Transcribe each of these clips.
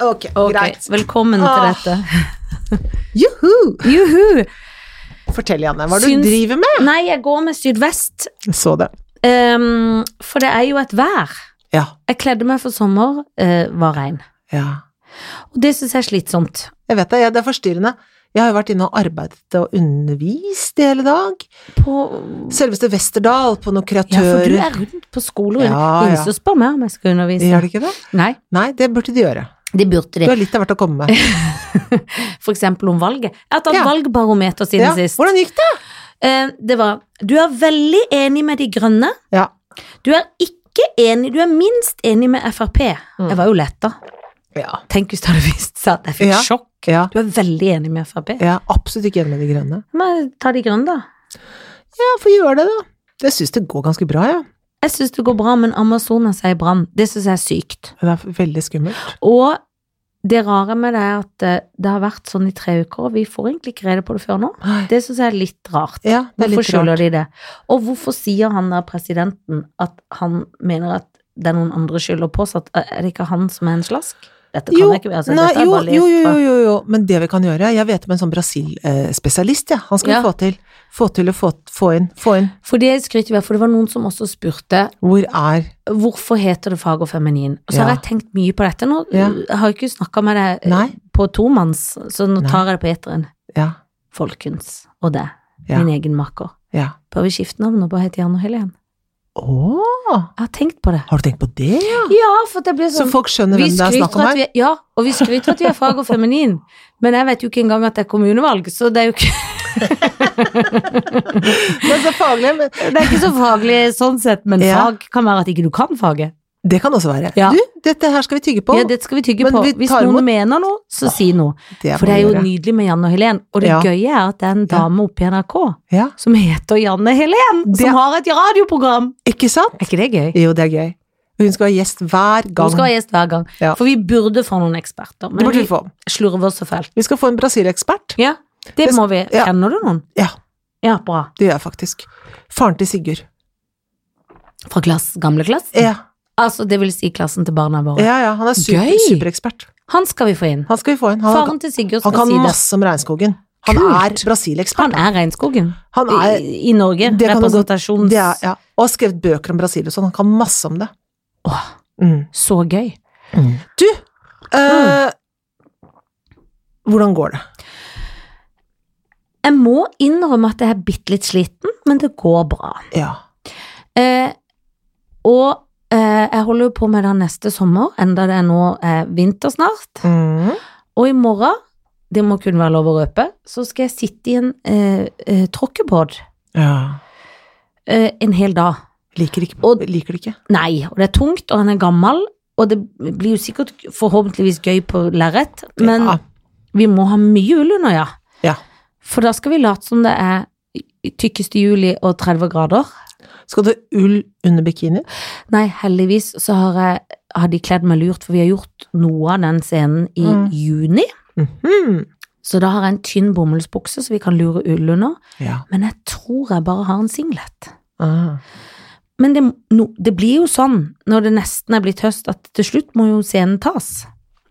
Ok, Ok, greit. velkommen til Åh. dette. Juhu! Juhu! Fortell, Janne, hva er det Syns- du driver med? Nei, jeg går med sydvest, Jeg så det. ehm, for det er jo et vær. Ja. Jeg kledde meg for sommer, eh, var regn. ja. Og det syns jeg er slitsomt. Jeg vet det, ja, det er forstyrrende. Jeg har jo vært inne og arbeidet og undervist i hele dag. På Selveste Westerdal på noen Ja, for kreatører. du er liksom- rundt på skolen. Ja, Ja, Ingen ja. som spør meg om jeg skal undervise. Gjør det ikke det? Nei, Nei, det burde de gjøre. det burde Du de. har litt av hvert å komme med. For eksempel om valget. Jeg har tatt Ja. valgbarometer siden Ja, sist. Hvordan gikk det? Eh, det var Du er veldig enig med De grønne. Ja. Du er ikke enig Du er minst enig med Frp. Mm. Jeg var jo letta. Ja. Tenk hvis det hadde vist seg at jeg fikk Ja. sjokk. ja. Du er veldig enig med Frp. Jeg er absolutt ikke enig med De grønne. Men ta De grønne, da. Ja, få gjøre det, da. Jeg syns det går ganske bra, jeg. Jeg syns det går bra, men Amazonas er i brann. Det syns jeg er sykt. Ja. Det er veldig skummelt. Og det rare med det er at eh, det har vært sånn i tre uker, og vi får egentlig ikke rede på det før nå. Nei. Det syns jeg er litt rart. Ja, det er litt Hvorfor rart. skylder de det? Og hvorfor sier han der presidenten at han mener at det er noen andre skylder på oss, at eh, er det ikke han som er en slask? Dette kan Jo, jeg ikke altså, Nei, dette er jo, bare lest jo, jo, fra- jo, jo, jo, men det vi kan gjøre Jeg vet om en sånn Brasil-spesialist, ja. Han skal Ja. vi få til. Få til å få, få inn, få inn. For det skryter vi av, for det var noen som også spurte Hvor er hvorfor heter det fag og feminin? Og så Ja. har jeg tenkt mye på dette nå. Ja. Jeg har ikke snakka med deg eh, Nei. på tomanns, så nå Nei. tar jeg det på eteren. Ja. Folkens og det, Ja. min egen maker. ja. Bør vi skifte navn og bare hete Jan og Helen? Å! Jeg har tenkt på det. Har du tenkt på det, ja? Ja, for det blir Så sånn folk skjønner Vi hvem det er snakk skryter om at her? vi, ja, og vi skryter at vi er fag og feminin, men jeg vet jo ikke engang at det er kommunevalg, så det er jo ikke, Det er så faglig, men det er ikke så faglig sånn sett, men Ja. fag kan være at ikke du kan faget. Det kan også være. Ja. Du, dette her skal vi tygge på. Ja, det skal vi tygge Men på. vi Hvis tar noen imot- mener noe, så si noe. Det For må det er vi jo gjøre. nydelig med Janne og Helen, og det Ja. gøye er at det er en dame oppe i NRK Ja. som heter Janne Helen, Det- som har et radioprogram. Ikke sant? Er ikke det gøy? Jo, det er gøy. Hun skal være gjest hver gang. Hun skal ha gjest hver gang, Ja. for vi burde få noen eksperter, det men burde vi vi få. slurver så fælt. Vi skal få en Brasil-ekspert. Ja, det Det- må vi. ja. Kjenner du noen? Ja. Ja, bra. Det gjør jeg faktisk. Faren til Sigurd. Fra klass, gamle klassen? Ja, Altså, det vil si klassen til barna våre. ja, ja han er super, Gøy! superekspert. Han skal vi få inn. Han skal vi få inn. Han, Faren til Sigurd han skal kan si det. masse om regnskogen. Han er Kult. Han Brasil-ekspert. er regnskogen Han i, er i Norge. Det kan du godt- Representasjons... det er, ja. Og har skrevet bøker om Brasil og sånn. Han kan masse om det. Åh, Mm. så gøy. Mm. Du! eh, Hvordan går det? Jeg må innrømme at jeg er bitte litt sliten, men det går bra. Ja. Eh, og eh, jeg holder jo på med det neste sommer, enda det er nå eh, vinter snart. Mm. Og i morgen, det må kun være lov å røpe, så skal jeg sitte i en eh, eh, tråkkebåt ja. eh, en hel dag. Liker, ikke, Og- liker det ikke. Nei, og det er tungt, og han er gammel, og det blir jo sikkert forhåpentligvis gøy på lerret, men ja. vi må ha mye ull under, ja. Ja. For da skal vi late som det er tykkeste juli og 30 grader. Skal du ha ull under bikinien? Nei, heldigvis så har jeg har de kledd meg lurt, for vi har gjort noe av den scenen i Mm. juni. Mhm. Så da har jeg en tynn bomullsbukse, så vi kan lure ull under. Ja. Men jeg tror jeg bare har en singlet. Ah. Men det, no, det blir jo sånn, når det nesten er blitt høst, at til slutt må jo scenen tas.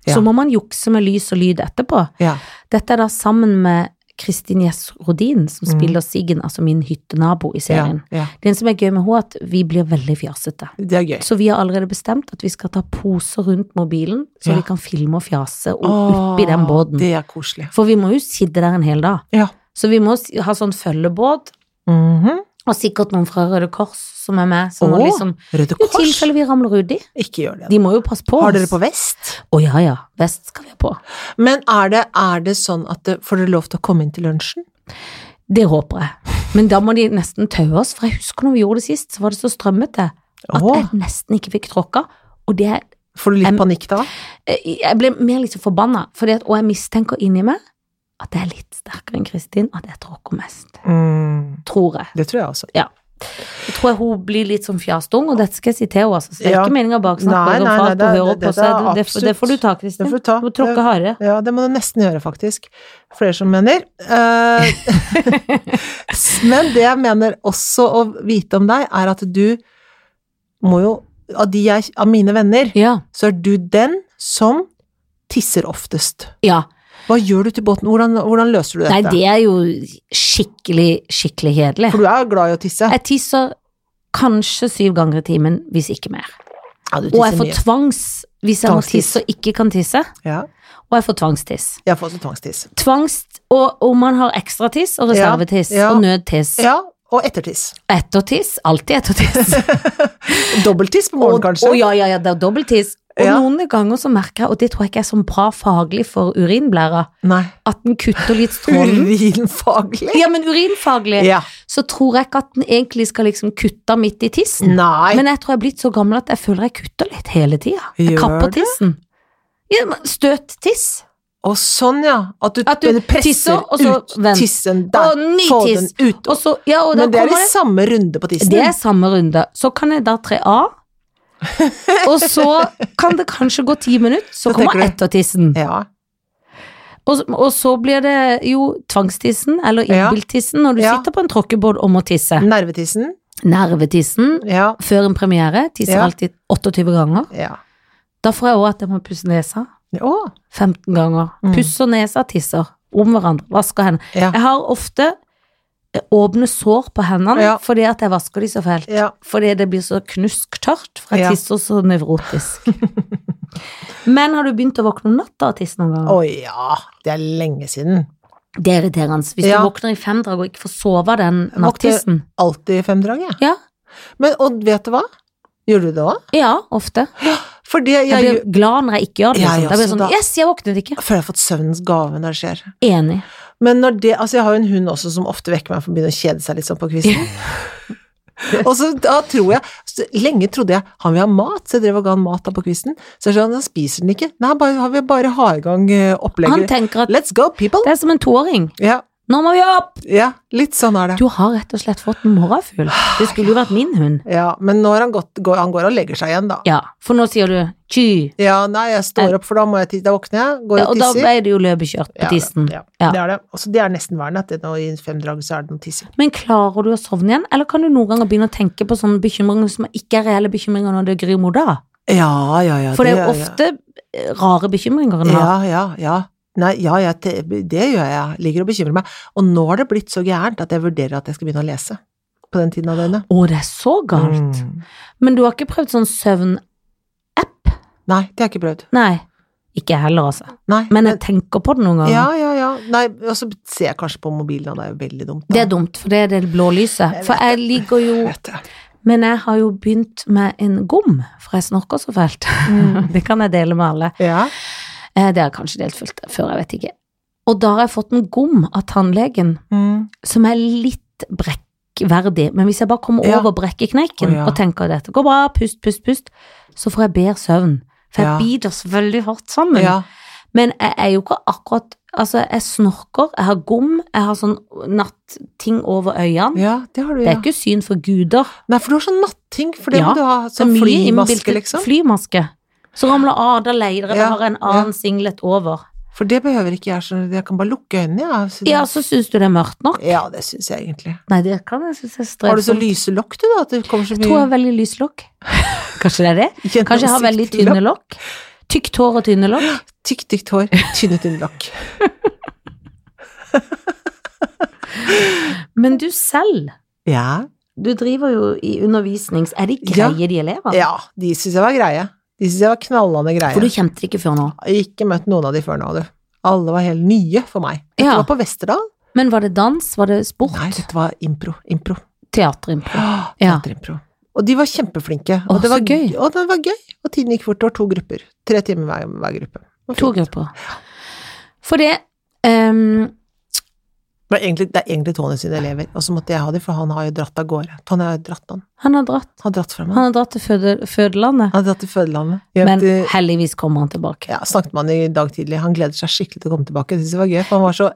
Ja. Så må man jukse med lys og lyd etterpå. Ja. Dette er da sammen med Kristin Gjess Rodin, som Mm. spiller Siggen, altså min hyttenabo i Ja. serien. ja. Det som er gøy med henne, er at vi blir veldig fjasete. Det er gøy. Så vi har allerede bestemt at vi skal ta poser rundt mobilen, så Ja. vi kan filme og fjase og Åh, oppi den båten. Det er koselig. For vi må jo sitte der en hel dag. Ja. Så vi må s- ha sånn følgebåt, Mhm. og sikkert noen fra Røde Kors som er med. Som Åh, liksom, Røde I Kors, tilfelle vi ramler uti. ikke gjør det. De må jo passe på Har dere på oss. vest? Å ja, ja. Vest skal vi ha på. Men er det, er det sånn at det, får dere lov til å komme inn til lunsjen? Det håper jeg. Men da må de nesten taue oss, for jeg husker når vi gjorde det sist, så var det så strømmete at Åh, jeg nesten ikke fikk tråkka. Og det, får du litt Em- panikk da? jeg ble mer liksom forbanna, fordi at, og jeg mistenker inni meg at jeg er litt sterkere enn Kristin, at jeg tråkker mest. Tror jeg. Mm, det tror jeg også. Jeg tror jeg hun blir litt som fjastung, og dette skal jeg si til henne, altså. Så det er Ja. ikke meningen å Nei, baksnakke henne nei, for nei, alt det- hun hører det- på, dette så er det, det, det får du ta, Kristin. Det får du Du ta. Eh, må tråkke hardere. Ja, det må du nesten gjøre, faktisk. Flere som mener. Eh, men det jeg mener også å vite om deg, er at du må jo Av, de jeg, av mine venner, Ja. så er du den som tisser oftest. Ja. Hva gjør du til båten? Hvordan, hvordan løser du dette? Nei, det er jo skikkelig, skikkelig kjedelig. For du er glad i å tisse? Jeg tisser kanskje syv ganger i timen, hvis ikke mer. Ja, du Og jeg tisser får mye. tvangs hvis jeg må Tvangstiss. tisse og ikke kan tisse. Ja, Og jeg får tvangstiss. jeg får også tvangstiss. Tvangs, og, og man har ekstratiss og Ja, reservetiss ja. og nødtiss. Ja, og ettertiss. Ettertiss. Alltid ettertiss. Dobbelttiss på morgenen, kanskje? Og, og ja, ja, ja, det er dobbelttiss. Og Ja. noen ganger så merker jeg, og det tror jeg ikke er så bra faglig for urinblæra, Nei. at den kutter litt strålen. Urinfaglig? Ja, men urinfaglig Ja. så tror jeg ikke at den egentlig skal liksom kutte midt i tissen. Nei. Men jeg tror jeg er blitt så gammel at jeg føler jeg kutter litt hele tida. Jeg Gjør kapper det? tissen. Ja, men Støttiss. og sånn, ja. At du, At du men presser tisser, og så ut vent. tissen der. Og ny Få tiss. den ut. Og så, ja, og da men det er kommer de samme runde på tissen. Det er samme runde. Så kan jeg da tre av. og så kan det kanskje gå ti minutter, så Da kommer tenker du- ettertissen. Ja. Og, og så blir det jo tvangstissen, eller Ja. innbiltissen, når du Ja. sitter på en tråkkebåt og må tisse. Nervetissen. Nervetissen Ja. før en premiere, tisser Ja. alltid 28 ganger. ja. Da får jeg òg at jeg må pusse nesa Å, 15 ganger. Mm. Pusser nesa, tisser om hverandre, vasker hendene. ja. Jeg har ofte eh, åpne sår på hendene Ja. fordi at jeg vasker de så fælt. ja. Fordi det blir så knusktørt, for jeg Ja. tisser så nevrotisk. Men har du begynt å våkne om natta og tisse noen Å ganger? ja, det er lenge siden. Det er irriterende. Hvis Ja. du våkner i femdrag og ikke får sove av den Jeg våkner- nattissen. Alltid femdrag, jeg. Ja. Men og vet du hva? Gjør du det òg? ja, ofte. Fordi jeg, Jeg blir gjør- glad når jeg ikke gjør det. Jeg Liksom. Da blir jeg også, sånn, da. yes, jeg våknet ikke. jeg føler jeg har fått søvnens gave når det skjer. Enig. Men når det, altså jeg har jo en hund også som ofte vekker meg for å begynne å kjede seg litt sånn på kvisten. og så da tror jeg, så lenge trodde jeg han vil ha mat, så jeg drev og ga han mat da på kvisten. Så jeg sa han spiser den ikke. Nei, han bare, han vil bare ha i gang eh, Han opplegget. tenker at Let's go, people! det er som en toåring. Ja, Nå må vi opp! ja, litt sånn er det. Du har rett og slett fått en morgenfugl. Det skulle jo vært min hund. Ja, men nå har han gått, går, han går og legger seg igjen da. Ja, for nå sier du ky, Ja, nei, jeg står opp, for da må jeg tisse, da våkner jeg, går og og da tisser. ble det jo løpekjørt på Ja, tissen. Ja, Ja. det er det. Og så det er nesten verden at det nå i fem drag så er det noe tissing. Men klarer du å sovne igjen, eller kan du noen ganger begynne å tenke på sånne bekymringer som ikke er reelle bekymringer når det gryr mot da? Ja, ja, ja. For det er jo ja. ofte eh, rare bekymringer en har. Ja, ja, ja. Nei, ja, jeg, te- det gjør jeg. Ligger og bekymrer meg. Og nå har det blitt så gærent at jeg vurderer at jeg skal begynne å lese på den tiden av døgnet. Å, det er så galt. Mm. Men du har ikke prøvd sånn søvn-app? Nei, det har jeg ikke prøvd. Nei. Ikke jeg heller, altså. Nei. Men jeg tenker på det noen ganger. ja, ja, ja. Nei, og så ser jeg kanskje på mobilen, og det er jo veldig dumt. da. Det er dumt, for det er det blå lyset. Jeg For jeg ligger jo Vet du. Men jeg har jo begynt med en gom, for jeg snorker så fælt. Mm. Det kan jeg dele med alle. Ja. Eh, Det har jeg kanskje delt fullt før, jeg vet ikke. Og da har jeg fått en gom av tannlegen. Mm. som er litt brekkverdig. Men hvis jeg bare kommer Ja. over Å, brekkeknekken ja. og tenker dette går bra, pust, pust, pust, så får jeg bedre søvn. For jeg Ja. biter så veldig hardt sammen. ja. Men jeg er jo ikke akkurat Altså, jeg snorker, jeg har gom, jeg har sånn natting over øynene. Ja, det har du, Det ja. er ikke syn for guder. Nei, for du har sånn natting, for det Ja, må du ha. Så Sånn mye flymaske, innbilt- liksom. Flymaske. Så ramler av, da leier jeg Ja, bare en annen singlet over. For det behøver ikke jeg, så jeg kan bare lukke øynene, jeg. så det- Ja, så syns du det er mørkt nok? ja, det syns jeg egentlig. Nei, det kan jeg synes er strevsomt. Har du så lyse lokk, du, da? At det kommer så Jeg tror mye jeg har veldig lyst lokk. Kanskje det er det? Kanskje jeg har veldig gjennomsiktig lokk? tynne lokk. Tykt hår og tynne lokk. Tykt, tykt hår, tynne, tynne lokk. Men du selv, Ja. du driver jo i undervisnings... Er de Ja. greie, de elevene? ja, de syns jeg var greie. De syns jeg var knallende For greie. du kjente det ikke før nå. Jeg har Ikke møtt noen av de før nå, du. Alle var helt nye for meg. Dette Ja. var på Vesterdal. Men var det dans? Var det sport? Nei, dette var impro. Impro. Teaterimpro? Åh, Ja. Teaterimpro. Og de var kjempeflinke. Åh, Og det var så gøy. Og det var gøy. Og tiden gikk fort. Det var to grupper. Tre timer hver, hver gruppe. Det var To fint. grupper. For det ehm, Det, var egentlig, det er egentlig Tony sine elever, og så måtte jeg ha dem, for han har jo dratt av gårde. Tony har jo dratt han. han, har dratt, Han har dratt fra meg. han har dratt til føde, fødelandet, Han har dratt til fødelandet. men Gjemt i- heldigvis kommer han tilbake. ja, snakket med han i dag tidlig. Han gleder seg skikkelig til å komme tilbake. Jeg synes det var gøy, for han var så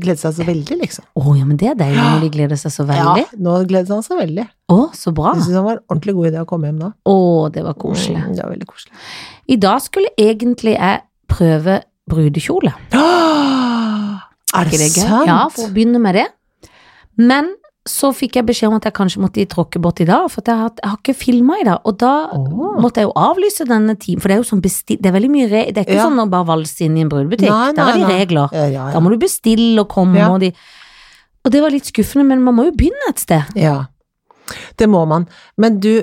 gledet seg så veldig, liksom. Å ja, men det er deilig når de gleder seg så veldig. Ah. Ja, nå gledet han seg veldig. Å, så bra. Jeg synes han var en ordentlig god idé å komme hjem da. Å, det var koselig. Mm, det var veldig koselig. I dag skulle egentlig jeg prøve brudekjole. Åh, er Ah! Ikke det det gøy? sant? Ja, for å begynne med det. Men så fikk jeg beskjed om at jeg kanskje måtte tråkke bort i dag, for at jeg, har, jeg har ikke filma i dag. Og da Åh. måtte jeg jo avlyse denne timen, for det er jo sånn besti- Det er veldig mye re Det er ikke Ja. sånn å bare valse inn i en brudebutikk. Nei, Der nei, er de nei. regler. Ja, ja, Da ja. må du bestille og komme Ja. og de Og det var litt skuffende, men man må jo begynne et sted. ja. Det må man. Men du,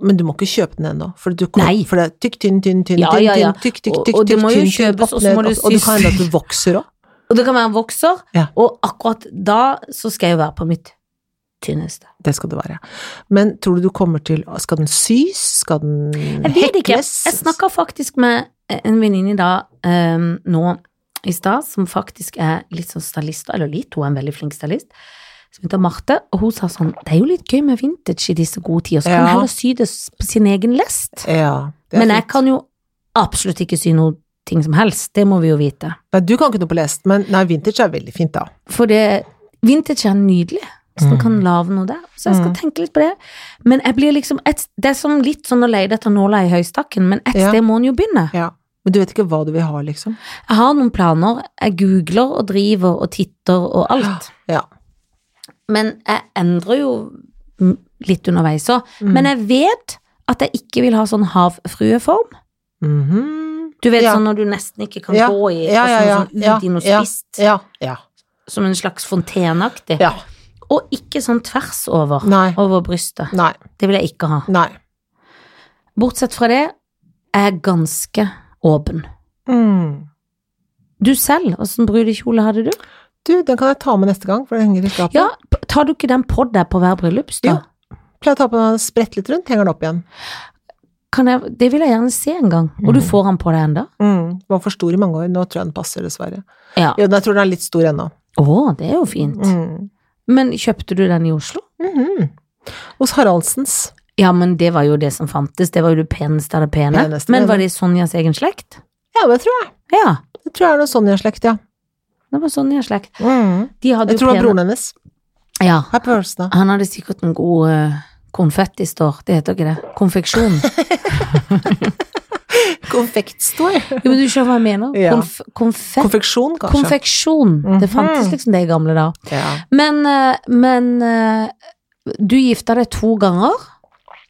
men du må ikke kjøpe den ennå. For, du kom, Nei. for det er tykk, tynn, tynn, tynn, Ja, ja, ja. tynn, tykk, tykk, Og- tykk, og det tykk, må jo tynn, tynn, kjøpes, opp, og så må ned, det opp. Og det kan hende at du vokser òg. Og det kan være en vokser, Ja. og akkurat da så skal jeg jo være på mitt tynneste. Det skal det være. Men tror du du kommer til Skal den sys? Skal den Jeg vet ikke. Jeg snakka faktisk med en venninne i dag ehm, nå i stad, som faktisk er litt sånn stylist, eller litt, hun er en veldig flink stylist, som heter Marte, og hun sa sånn Det er jo litt gøy med vintage i disse gode tider, så kan Ja. man heller sy det s- på sin egen lest. Ja, det er Men jeg fint. kan jo absolutt ikke sy noe ting som helst, det må vi jo vite. Nei, du kan ikke noe på lest, men nei, vintage er veldig fint, da. For det vintage er nydelig. Så man kan lage noe der. Så jeg skal Mm. tenke litt på det. Men jeg blir liksom et, Det er som litt sånn å leie etter nåla i høystakken, men et Ja. sted må en jo begynne. Ja. Men du vet ikke hva du vil ha, liksom? Jeg har noen planer. Jeg googler og driver og titter og alt. Ja. Men jeg endrer jo m- litt underveis òg. Mm. Men jeg vet at jeg ikke vil ha sånn havfrueform. Mhm. Du vet Ja. sånn når du nesten ikke kan Ja. gå i Ja, og ja, sånn, ja. sånn Ja, ut i noe ja. spist. Ja. Ja. Som en slags fonteneaktig. ja. Og ikke sånn tvers over. Nei. Over brystet. Nei. Det vil jeg ikke ha. Nei. Bortsett fra det er jeg ganske åpen. Mm. Du selv, åssen brudekjole hadde du? Du, den kan jeg ta med neste gang, for den henger i skapet. Ja, p- tar du ikke den på deg på hver bryllupsdag? Jo. Pleier å ta på den, spredt litt rundt, henger den opp igjen. Kan jeg, det vil jeg gjerne se en gang. Og du Mhm. får den på deg enda? Mm. Var for stor i mange år, nå tror jeg den passer, dessverre. Ja. Jo, jeg tror den er litt stor ennå. Å, det er jo fint. Mm. Men kjøpte du den i Oslo? Mhm. Hos Haraldsens. Ja, men det var jo det som fantes. Det var jo det peneste av det pene. Peneste, men det var var- det Sonjas egen slekt? Ja, det tror jeg. Ja, Det tror jeg er noe sånn Sonja-slekt, ja. det var Sonjas slekt. Mm. De hadde Jeg jo tror det var pene broren hennes. Ja, Her på følelsen, da. han hadde sikkert en god uh, konfettistår. Det heter ikke det. Konfeksjon. Konfektstår. Jo, men du skjønner hva jeg mener. Ja. Konf konfett Konfeksjon, kanskje. Konfeksjon. Det fantes Mhm. liksom det i gamle dager. ja. Men, eh, men eh, du gifta deg to ganger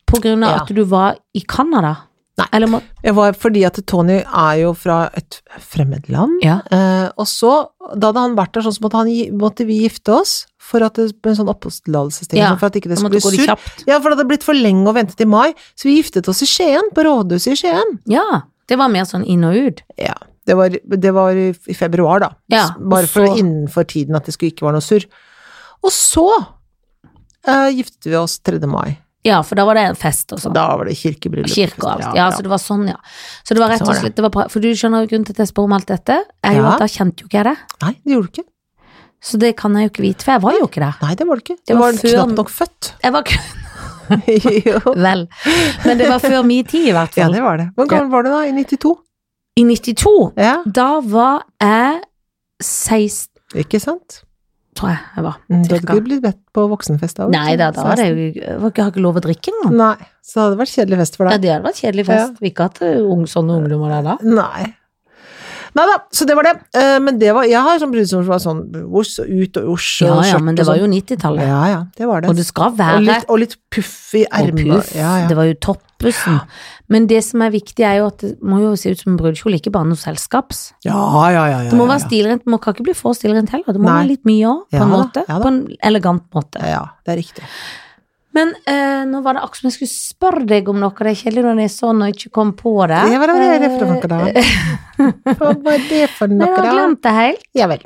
på grunn av Ja. at du var i Canada? Nei. Eller må Jeg var fordi at Tony er jo fra et fremmed land. Ja. Eh, og så, da hadde han vært der, sånn så måtte, han, gi- måtte vi gifte oss for at det, med en sånn oppholdstillatelsesting. Ja, sånn For at ikke det Jeg skulle måtte bli gå litt surt. kjapt. Ja, for det hadde blitt for lenge å vente til mai, så vi giftet oss i Skien, på rådhuset i Skien. Ja. Det var mer sånn inn og ut. Ja, det var, det var i i februar, da. Ja, S- Bare og for så- innenfor tiden at det skulle ikke være noe surr. Og så eh, giftet vi oss 3. mai. Ja, for da var det fest og Så sånn. da var det kirkebryllup. Kirke og alt. Ja, så det var sånn, ja. Så det var rett Så og var det. slett det var bra. For du skjønner jo grunnen til at jeg spør om alt dette, er jo Ja. at da kjente jo ikke jeg det. Nei, det gjorde du ikke. Så det kan jeg jo ikke vite, for jeg var jo ikke der. Nei, det var det ikke. Det Du var var, før- knapt nok født. Jeg var ikke jo. Vel. Men det var før min tid, i hvert Ja, fall. det var det. Hvor gammel var du da? I 92? I 92 Ja, Da var jeg 16, ikke sant? tror jeg jeg var. Mm, Du hadde cirka. ikke blitt bedt på voksenfest da? vet du. Nei da, da var det jo jeg var ikke- Jeg har ikke lov å drikke engang. Nei, så det hadde vært kjedelig fest for Ja, deg. det hadde vært kjedelig fest. Vi ikke hatt eh, ung, sånne ungdommer der da. Nei. Nei da, så det var det. Eh, Men det var Jeg har sånn brudesommer som var sånn voss og ut og osj og Ja ja, skjørt men og det var sånn. jo 90-tallet. Ja ja, det var det. Og det skal og, være litt, og litt puff i og ermene. puff. Ja, ja. Det var jo toppussen. Men det som er viktig, er jo at det må jo se ut som en brudekjole, ikke bare noe selskaps. ja, ja, ja, ja, Det må ja, være ja. stilrent, det må kan ikke bli for stilrent heller. Det må Nei. være litt mye òg, på Ja en da, måte. ja da. På en elegant måte. Ja, ja, det er riktig. Men eh, nå var det akkurat som jeg skulle spørre deg om noe. Det er kjedelig når det er sånn og ikke kom på det. Det var det, det for noe da. Eh, Hva var det for Nei, jeg noe har da? glemt det helt. Ja vel.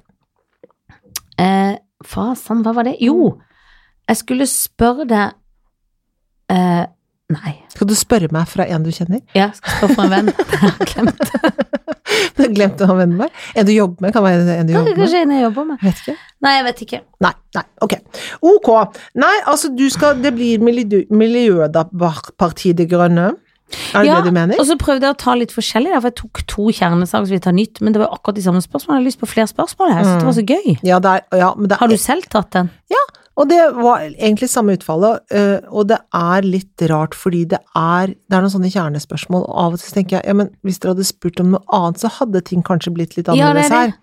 Eh, fasen, hva var det? Jo, jeg skulle spørre deg eh, Nei, Skal du spørre meg fra en du kjenner? jeg skal spørre for en venn. Jeg har glemt det. Du har glemt å ha vennen vår? En du jobber med? Kan være en du Det er jobber med? Kanskje en jeg jobber med. Jeg Vet ikke. Nei, jeg vet ikke. Nei, nei, ok. Ok. Nei, altså du skal Det blir miljø, Miljøpartiet De Grønne. Er det Ja, altså- det du mener? Og så prøvde jeg å ta litt forskjellig, der, for jeg tok to kjernesaker som vi tar nytt, men det var jo akkurat de samme spørsmålene. Jeg har lyst på flere spørsmål her, så det var så gøy. Ja, det er, ja, men det Har er, du selv tatt den? og det var egentlig samme utfallet, øh, og det er litt rart fordi det er, det er noen sånne kjernespørsmål, og av og til tenker jeg ja, men hvis dere hadde spurt om noe annet, så hadde ting kanskje blitt litt Ja, det er annerledes her.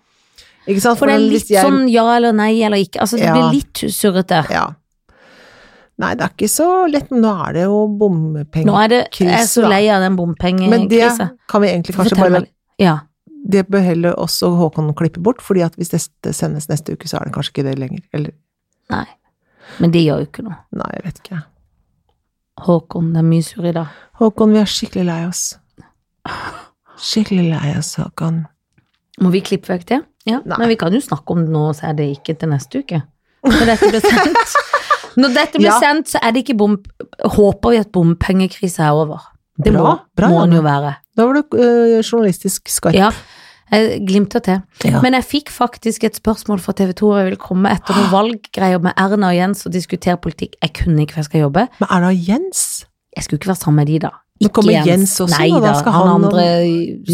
Ikke sant? For det er hvis litt jeg- sånn ja eller nei eller ikke. Altså, det Ja. blir litt surrete. Ja. Nei, det er ikke så lett, men nå er det jo Nå bompenger. er det, jeg er Krise, så da. lei av den Men det bompengekrisa. kan vi egentlig kanskje Fortell bare meg. Ja. Det bør heller oss og Håkon klippe bort, fordi at hvis dette sendes neste uke, så er det kanskje ikke det lenger. Eller Nei. Men det gjør jo ikke noe. nei, jeg vet ikke. Håkon, det er mye sur i dag. Håkon, vi er skikkelig lei oss. Skikkelig lei oss, Håkon. Må vi klippe vekk det? Ja. Nei. Men vi kan jo snakke om det nå, så er det ikke til neste uke. Når dette blir sendt, Når dette blir Ja. sendt så er det ikke bom... Håper vi at bompengekrisa er over. Det Bra, må, bra, må den Janne. jo være. Da var du eh, journalistisk skarp. Ja. Jeg glimter til. Ja. Men jeg fikk faktisk et spørsmål fra TV 2 og jeg vil komme etter Ah. noen valggreier med Erna og Jens og diskutere politikk. Jeg kunne ikke, for jeg skal jobbe. Men er det Jens? Jeg skulle ikke være sammen med de, da. Nå Ikke kommer Jens også, Nei da. Da da, skal han han andre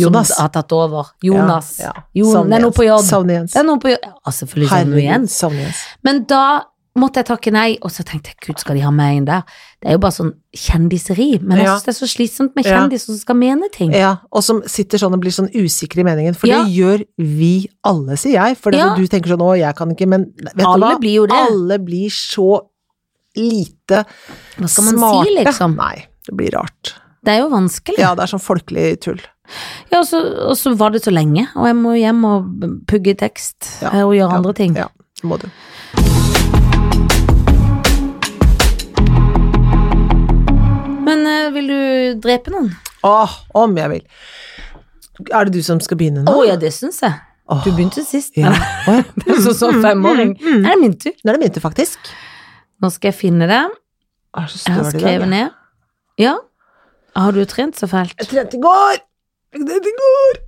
Jonas. som har tatt over. Jonas. Ja, Sånn, ja. Jon, Savner det er noe Jens. på jobb. Savner Jens. Det er noe på jobb. Ja, altså, selvfølgelig sammen med Jens. savner Jens. Men da måtte jeg takke nei, og så tenkte jeg gud, skal de ha meg inn der? Det er jo bare sånn kjendiseri, men jeg Ja. synes det er så slitsomt med Ja. kjendiser som skal mene ting. Ja, og som sitter sånn og blir sånn usikre i meningen. For Mm. Ja. det gjør vi alle, sier jeg. For det Ja. at du tenker sånn 'å, jeg kan ikke', men vet du Alle hva? blir jo det. Alle blir så lite Hva skal man smarte. si, liksom? Nei, det blir rart. Det er jo vanskelig. Ja, det er sånn folkelig tull. Ja, og så, og så var det så lenge, og jeg må hjem og pugge tekst Ja. eh, og gjøre andre ting. Ja, det må du. Men eh, vil du drepe noen? Åh, om jeg vil. Er det du som skal begynne Å nå? ja, det syns jeg. Åh. Du begynte sist. Ja. Mm, men- Åh, ja. Det er sånn som femåring. Er det min tur? Nå er det min tur, faktisk. Nå skal jeg finne det. Jeg er så Jeg har støl i dag. skrevet jeg. ned. Ja. Har du trent så fælt? Jeg trente i går! Jeg trente i går!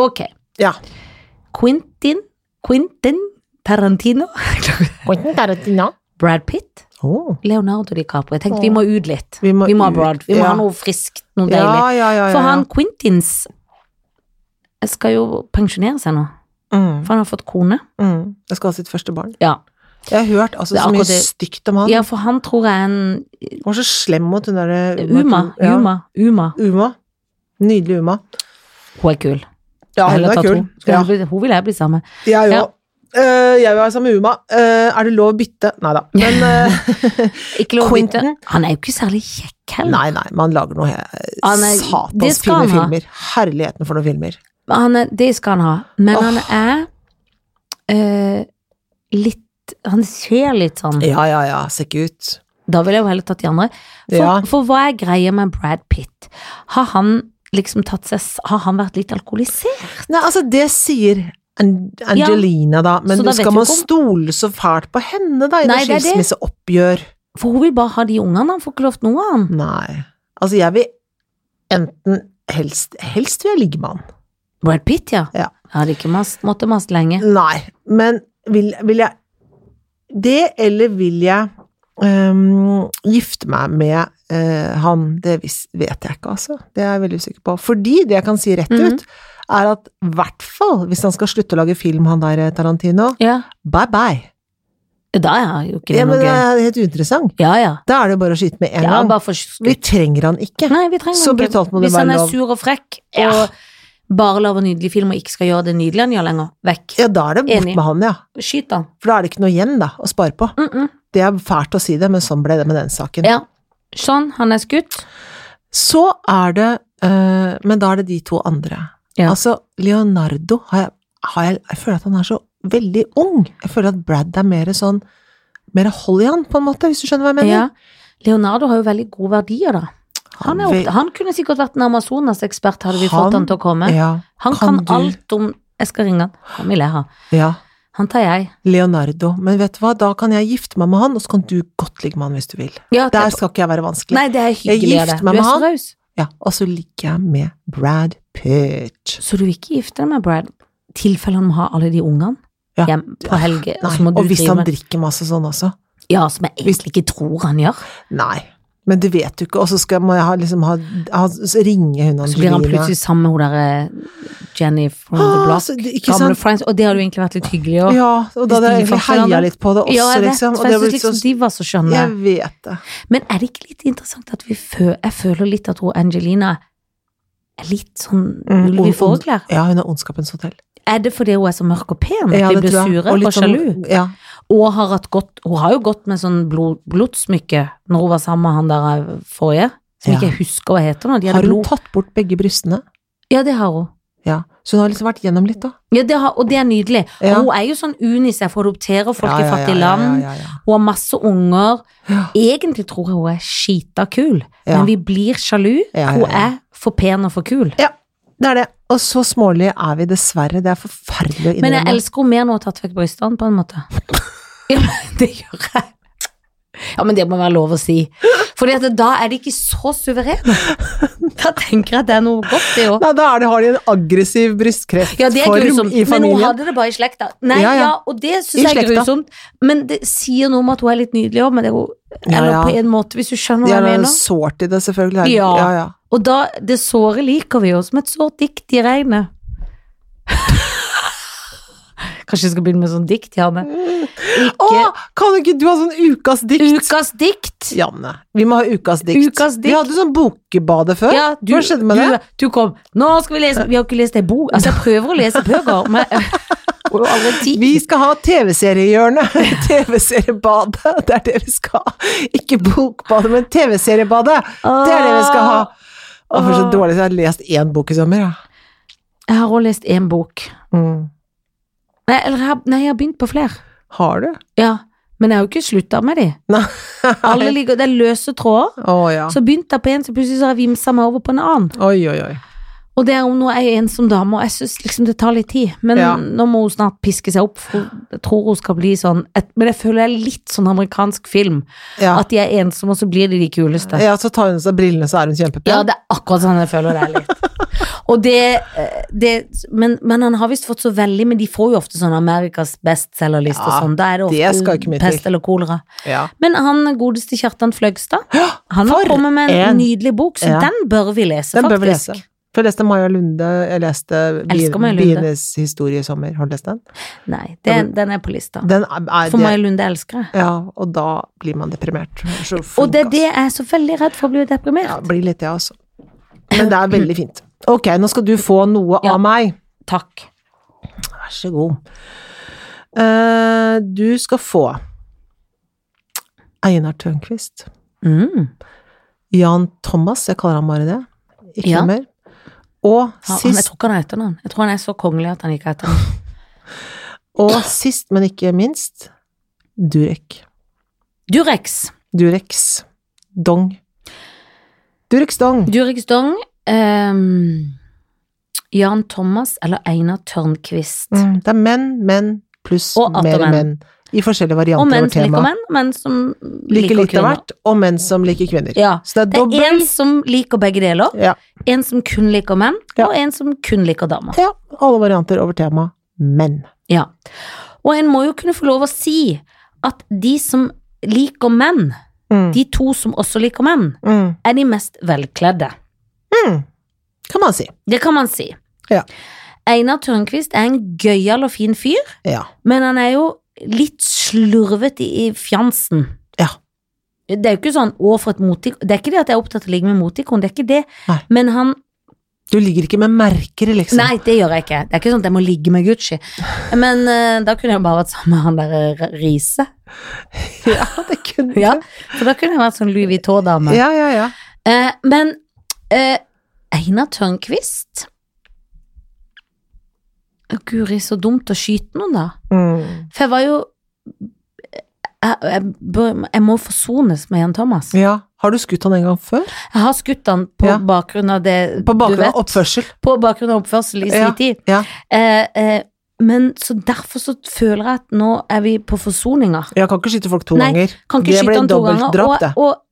Ok. Ja. Quentin Quentin Tarantino. Quentin Tarantino. Brad Pitt. Åh. Leonardo DiCaprio. Jeg tenkte vi må ut litt. Vi må Vi må ha ut, Brad. Vi må ja. ha noe friskt, noe Ja, deilig. ja, ja, ja, ja. For han Quentins jeg skal jo pensjonere seg nå. Mm, For han har fått kone. mm. Jeg skal ha sitt første barn. Ja. Jeg har hørt altså, Det er så mye akkurat det. stygt om han. ja, for han tror jeg er en Han var så slem mot hun derre Uma. Ja. Uma. Uma. Uma. Nydelig Uma. Hun er kul. Ja, hun Heller er ta kul. to. Skulle Ja. hun bli- Hun vil jeg bli sammen med. Jeg Ja. òg. Eh, jeg vil være sammen med Uma. Eh, er det lov å bytte? Nei da. Men eh, Ikke lov å bytte. Quentin? Han er jo ikke særlig kjekk heller. Nei, nei, man lager noe eh, Han er- det satans skal fine han ha. filmer. Herligheten for noen filmer. han er, det skal han ha, men Åh. han er eh, litt Han ser litt sånn Ja, ja, ja, ser ikke ut. Da ville jeg jo heller tatt de andre. For, Ja. for hva er greia med Brad Pitt? Har han liksom tatt seg s- Har han vært litt alkoholisert? Nei, altså, det sier An- Angelina, da, men du Så da vet skal vi man ikke om- stole så fælt på henne, da, i Nei, noe det er det. skilsmisseoppgjør? For hun vil bare ha de ungene, han får ikke lov til noe av han. Nei. Altså, jeg vil enten helst Helst vil jeg ligge med han. Brad Pitt, ja. Ja. Jeg hadde ikke mast, måtte mast lenge. Nei, men vil, vil jeg Det, eller vil jeg øhm, gifte meg med øh, han? Det vis, vet jeg ikke, altså. Det er jeg veldig usikker på. Fordi det jeg kan si rett Mhm. ut, er at i hvert fall hvis han skal slutte å lage film, han der eh, Tarantino, Ja. bye bye. Da er jo ikke det Ja, men noe det gøy. er helt uinteressant. Ja, ja. Da er det jo bare å skyte med en ja gang. bare for Vi trenger han ikke. Nei, vi trenger Så ikke. brutalt må det Hvis være han er lov. sur og frekk, Ja. og bare lager nydelig film og ikke skal gjøre det nydelige han gjør lenger, vekk. Ja, da er det bort Enig. med han, ja. Skyt han. For da er det ikke noe igjen da, å spare på. Mm -mm. Det er fælt å si det, men sånn ble det med den saken. Ja. Sånn, han er skutt. Så er det eh, Men da er det de to andre. Ja. Altså, Leonardo har jeg, har jeg Jeg føler at han er så veldig ung. Jeg føler at Brad er mer sånn Mer hold i han, på en måte, hvis du skjønner hva jeg mener. Ja. Leonardo har jo veldig gode verdier, da. Han, er vil- opptatt, han kunne sikkert vært en Amazonas-ekspert, hadde vi Han- fått han til å komme. ja, Han kan kan du- alt om Jeg skal ringe han. Han vil jeg ha. ja. Han tar jeg. Leonardo. Men vet du hva, da kan jeg gifte meg med han, og så kan du godt ligge med han hvis du vil. Ja, Der det- skal ikke jeg være vanskelig. Nei, det er Jeg hyggelig av gifter meg deg. Du er med så han. raus. Ja, og så ligger jeg med Brad Pitt. Så du vil ikke gifte deg med Brad? Tilfelle han må ha alle de ungene Ja. hjem på helge, og Nei, så må du og hvis drive han med- drikker masse sånn også. Ja, som jeg egentlig ikke tror han gjør. Nei. Men det vet du ikke, og så skal må jeg ha, liksom ha, ha så ringe hun Så blir han plutselig sammen med hun derre Jenny from the Ah, Block. så det- ikke Gamle sant? friends. Og det har jo egentlig vært litt hyggelig òg. Ja, og da hadde jeg egentlig Stilforskjellene. heia litt på det også, Ja, jeg vet. liksom. Og for det jeg har synes blitt liksom så de var så skjønne. Jeg vet det. Men er det ikke litt interessant at vi føler Jeg føler litt at hun Angelina er litt sånn Mm, ulv i ond- fåreklær. Ja, hun er Ondskapens hotell. Er det fordi hun er så mørk og pen at Ja, vi det blir tror jeg. sure og, litt sjalu? Sånn, ja. Og har hatt godt Hun har jo gått med sånn blod, blodsmykke når hun var sammen med han der eh, forrige, som Ja. ikke jeg husker hva heter nå. De Har hadde hun blod. tatt bort begge brystene? Ja, det har hun. Ja. Så hun har liksom vært gjennom litt, da. Ja, det har, og det er nydelig. Ja. Og hun er jo sånn Unicef, hun adopterer folk Ja, ja, i ja, fattige ja, land. Ja, ja, Hun har masse unger. Ja. Egentlig tror jeg hun er skita kul, Ja. men vi blir sjalu. Ja, ja, Hun ja. er for pen og for kul. ja. Det er det. Og så smålige er vi dessverre. Det er forferdelig å Men jeg innrømme. elsker henne mer når hun har tatt vekk brystene, på en måte. Ja, men det gjør jeg. Ja, men det må være lov å si. For da er de ikke så suverene. Da tenker jeg at det er noe godt, det òg. Nei, da er det, har de en aggressiv brystkreftform Ja, det er grusomt, i men hun familien. hadde det bare i slekta. Nei, Ja, ja, ja. og det I syns jeg er slekta. grusomt, men det sier noe om at hun er litt nydelig òg, men det er jo Ja, Eller ja. på en måte, hvis du skjønner De hva jeg har en mener. sårt i det, selvfølgelig. Ja. ja, ja. Og da, det såret liker vi jo, som et sårt dikt i regnet. Kanskje jeg skal begynne med sånn dikt, Janne. Å, Ikke kan ikke du ha sånn ukas dikt? Ukas dikt! Janne, vi må ha ukas dikt. Ukas dikt. Vi hadde sånn Bokbadet før. Ja, du, Hva skjedde med du, det? Du kom. Nå skal vi lese Vi har ikke lest ei bok. Altså, jeg prøver å lese bøker, men jeg får jo aldri tid. Vi skal ha TV-seriehjørnet. TV-seriebadet. Det er det vi skal ha. Ikke Bokbadet, men TV-seriebadet. Det er det vi skal ha. Å, for så Åh. dårlig. Jeg har lest én bok i sommer, ja. Jeg har også lest én bok. Mm. Nei, eller jeg har, nei, jeg har begynt på flere. Har du? Ja, men jeg har jo ikke slutta med de. Nei. Alle ligger, Det er løse tråder. Å ja. Så begynte jeg på en, så plutselig så har jeg vimsa meg over på en annen. Oi, oi, oi. Og det er hun nå er jeg ensom dame, og jeg syns liksom det tar litt tid. Men Ja. nå må hun snart piske seg opp, for jeg tror hun skal bli sånn et, Men jeg føler jeg er litt sånn amerikansk film. Ja. At de er ensomme, og så blir de de kuleste. ja, så tar hun av seg brillene, så er hun kjempepen. Ja, det er akkurat sånn jeg føler det er litt. Og det, eh, det men, men han har visst fått så veldig Men de får jo ofte sånn Amerikas bestselgerliste Ja, og sånn. Da er det det skal ikke ofte mye til. pest eller kolera. Ja. Men han godeste Kjartan Fløgstad, han for har kommet med en, en- nydelig bok, så Ja. den bør vi lese, Den bør vi faktisk. lese. For jeg leste Maja Lunde, jeg leste Bi- Elsker Maja Lunde. Bienes historie i sommer. Har du lest den? Nei, den, den er på lista. Den er, er For det- Maja Lunde elsker jeg. Ja, og da blir man deprimert. Så Og det er flink, altså. det jeg er så veldig redd for å bli Ja, deprimert. blir litt det, altså. Men det er veldig fint. Ok, nå skal du få noe Ja. av meg. Takk. Vær så god. Eh, du skal få Einar Tørnquist. Mm. Jan Thomas, jeg kaller ham bare det. Ikke Ja. noe mer. Og Han, han- jeg sist, tror ikke han er etternavn. Jeg tror han er så kongelig at han ikke er etternavn. og sist, men ikke minst, Durek. Durex. Durex Dong. Durex Dong. Durek Stong, ehm, Jan Thomas eller Einar Tørnquist. Mm, det er menn, menn pluss Og atter mer menn. menn. I forskjellige varianter Og menn over som liker temaet. menn, menn som Liker liker litt av kvinner. hvert, og menn som liker kvinner. Ja. Så det er Det er en dobbel som liker begge deler, ja, en som kun liker menn, Ja. og en som kun liker damer. ja, alle varianter over temaet menn. Ja. Og en må jo kunne få lov å si at de som liker menn, Mm. de to som også liker menn, Mm. er de mest velkledde. Mm. Kan man si. Det kan man si. Ja. Einar Tørnquist er en gøyal og fin fyr, Ja. Men han er jo litt slurvet i i fjansen. Ja. Det er jo ikke sånn å for et motikon. Det er ikke det at jeg er opptatt av å ligge med motikon, det er ikke det. Nei. Men han Du ligger ikke med merker, liksom. Nei, det gjør jeg ikke. Det er ikke sånn at jeg må ligge med Gucci. Men eh, da kunne jeg bare vært sammen med han der eh, Riise. Ja, det kunne Ja. For da kunne jeg vært sånn Louis Vuitton-dame. ja, ja, ja. Eh, men eh, Einar Tørnquist Å, Guri, så dumt å skyte noen, da. Mm. For jeg var jo jeg, jeg, bør- jeg må forsones med Jan Thomas. ja. Har du skutt han en gang før? Jeg har skutt han på Ja. bakgrunn av det På bakgrunn du av vet. oppførsel? På bakgrunn av oppførsel i sin Ja, tid. ja. Eh, eh, men så derfor så føler jeg at nå er vi på forsoninga. Jeg kan ikke skyte folk to Nei, ganger. Kan ikke Det blir skyte han to ganger. dobbeltdrap, det. og, og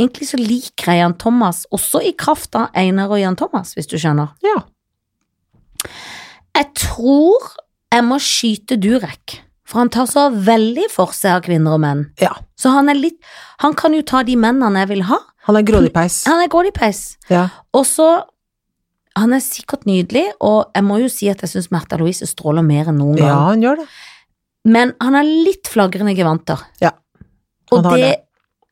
egentlig så liker jeg Jan Thomas, også i kraft av Einar og Jan Thomas, hvis du skjønner. Ja. Jeg tror jeg må skyte Durek, for han tar så veldig for seg av kvinner og menn. ja. Så han er litt Han kan jo ta de mennene jeg vil ha. Han er grådig peis. Han er gårdipeis. Ja. Og så Han er sikkert nydelig, og jeg må jo si at jeg syns Märtha Louise stråler mer enn noen ja, gang. han gjør det. Men han har litt flagrende gevanter. Ja, han Og har det,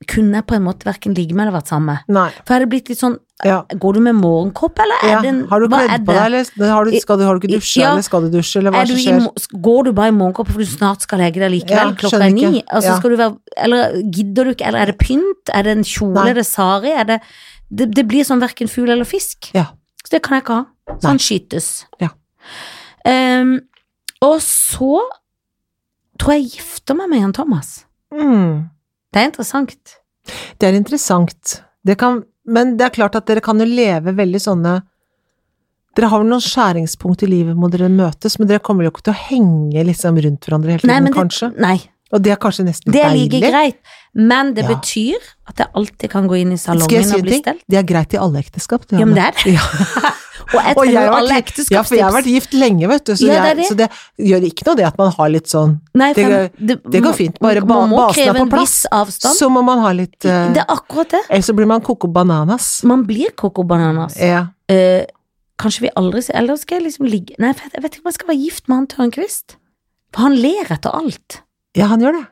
kunne jeg på en måte verken ligge med eller vært sammen med. Nei. For jeg hadde blitt litt sånn Ja. Går du med morgenkåpe, eller er Ja. det en- Har du hva er kledd på det? deg, eller har du, skal du, har du ikke dusja, Ja. eller skal du dusje, eller hva Er er du det i som skjer? mo- går du bare i morgenkåpe for du snart skal legge deg likevel Ja, klokka er skjønner ni? ikke. Altså, Ja. skal du være, eller gidder du ikke, eller er det pynt? Er det en kjole, Nei. er det sari? Er det, det, det blir sånn verken fugl eller fisk. Ja. Så det kan jeg ikke ha. Nei. Sånn skytes. Ja. Ehm, og så tror jeg jeg gifter meg med Jan Thomas. Mm. Det er interessant. Det er interessant. Det kan, men det er klart at dere kan jo leve veldig sånne Dere har vel noen skjæringspunkt i livet må dere møtes, men dere kommer jo ikke til å henge liksom rundt hverandre hele Nei, tiden, men det- kanskje. Nei, Og det er kanskje nesten det er deilig. like greit, men det Ja. betyr at jeg alltid kan gå inn i Skal jeg salongen si og en bli ting? stelt. Det er greit i alle ekteskap. Ja, men det er det. Ja. Og jeg Og trenger jeg jo har vært alle gift- Ja, for jeg har vært ekteskapstips. gift lenge, vet du, så, Ja, det er jeg, det. så det gjør ikke noe det at man har litt sånn Nei, Det for det går fint, bare ba- man må basen er kreve på en plass. viss avstand. Så må man ha litt eh, det er akkurat det. Ellers så blir man coco bananas. Man blir coco bananas. Ja. Eh, kanskje vi aldri ser Eller skal jeg liksom ligge Nei, for jeg vet ikke om jeg skal være gift med han Tørnquist. For han ler etter alt. ja, han gjør det.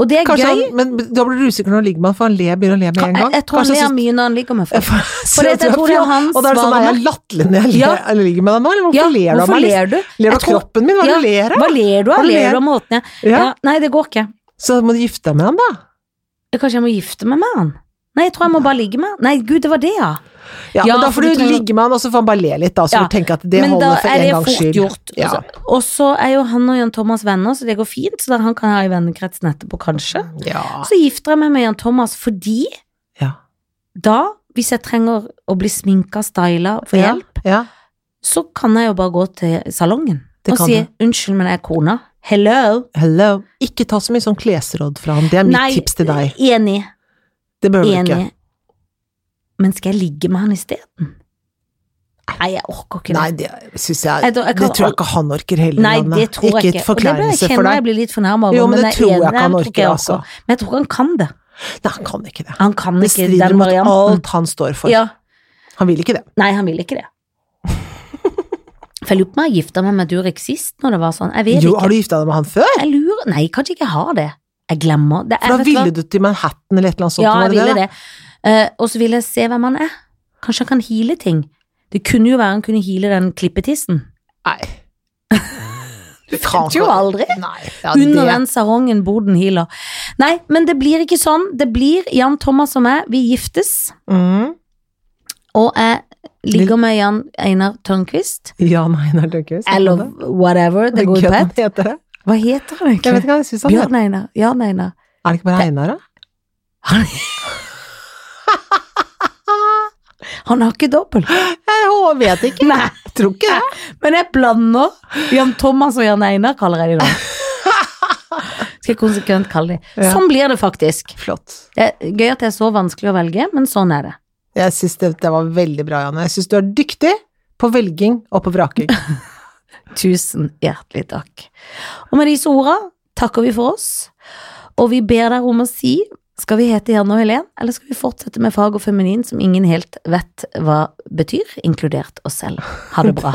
Og det er Kanskje gøy. han, men da blir du usikker når han ligger med han, for han ler, begynner å le med en jeg, gang. jeg tror han Kanskje ler synes- mye når han ligger med folk. For For jeg tror det er han Og da er det sånn, er jeg svarer. latterlig når jeg Ja. ler- eller ligger med deg nå, eller hvorfor Ja, ler du av hvorfor meg? Liksom? ler du? Ler du Jeg av tror- kroppen min? Hva er det Ja, du ler av? Hva ler du av? Han Ler ler. du av måten jeg Ja. ja, Nei, det går ikke. Så må du gifte deg med han, da. Jeg- Kanskje jeg må gifte meg med han? Nei, jeg tror jeg må bare ligge med han. Nei, gud, det var det, ja. Ja, Ja, men da får for du du trenger- ligge med han, og så får han bare le litt, da. Så Ja. får du tenke at det Men da holder for er en det gangs fort skyld. gjort. Ja. Altså. Og så er jo han og Jan Thomas venner, så det går fint. Så da han kan ha i vennekretsen etterpå, kanskje. Ja. Så gifter jeg meg med Jan Thomas fordi Ja. da, hvis jeg trenger å bli sminka, styla, få Ja. hjelp, ja. så kan jeg jo bare gå til salongen Det og kan si du. 'unnskyld, men jeg er kona'. Hello. Hello. Ikke ta så mye sånn klesråd fra han. Det er mitt tips til deg. enig. Det bør du ikke. Enig. Men skal jeg ligge med han isteden? Nei, jeg orker ikke det. Nei, det syns jeg, Jeg tror- jeg Det kan- tror jeg ikke han orker heller, Nei, Anne. det tror jeg ikke et ikke. Og det blir jeg forkleinelse kjenner for jeg deg. blir litt fornærma over. Jo, men det jeg er tror jeg enig, ikke han tror orker, jeg altså. Men jeg tror ikke han kan det. Nei, han kan ikke det. Han kan Det ikke strider den mot varianten. alt han står for. Ja. Han vil ikke det. Nei, han vil ikke det. For jeg lurer på om jeg gifta meg med Durek sist, når det var sånn. Jeg vet Jo, ikke. har du gifta deg med han før? Jeg lurer Nei, kanskje ikke jeg har det. Jeg glemmer det. For da ville du til Manhattan eller et eller annet sånt? Ja, var jeg det ville det, det. Eh, og så ville jeg se hvem han er. Kanskje han kan heale ting. Det kunne jo være han kunne heale den klippetissen. da? Nei. Du vet jo aldri. Nei, ja, Under det- den sarongen bor den healer. Nei, men det blir ikke sånn. Det blir Jan Thomas og meg, vi giftes. Mm. Og jeg ligger med Jan Einar Tørnquist. Ja, nei, nei, det er gøy. Eller whatever det går gøy at ut på. han heter det. Hva heter han Jeg vet egentlig? ikke hva jeg syns han heter. Bjørn Einar. Jan Einar. Er det ikke bare Einar, da? Han har ikke dobbel. Jeg hå- vet ikke. Nei, Jeg tror ikke det. men jeg blander. Jan Thomas og Jan Einar kaller jeg de nå. Skal jeg konsekvent kalle de. Ja. Sånn blir det faktisk. Flott. Det er gøy at det er så vanskelig å velge, men sånn er det. Jeg syns det, det var veldig bra, Janne. Jeg syns du er dyktig på velging og på vraking. Tusen hjertelig takk. Og med disse ordene takker vi for oss, og vi ber dere om å si skal vi hete Janne og Helen, eller skal vi fortsette med fag og feminin som ingen helt vet hva betyr, inkludert oss selv? Ha det bra.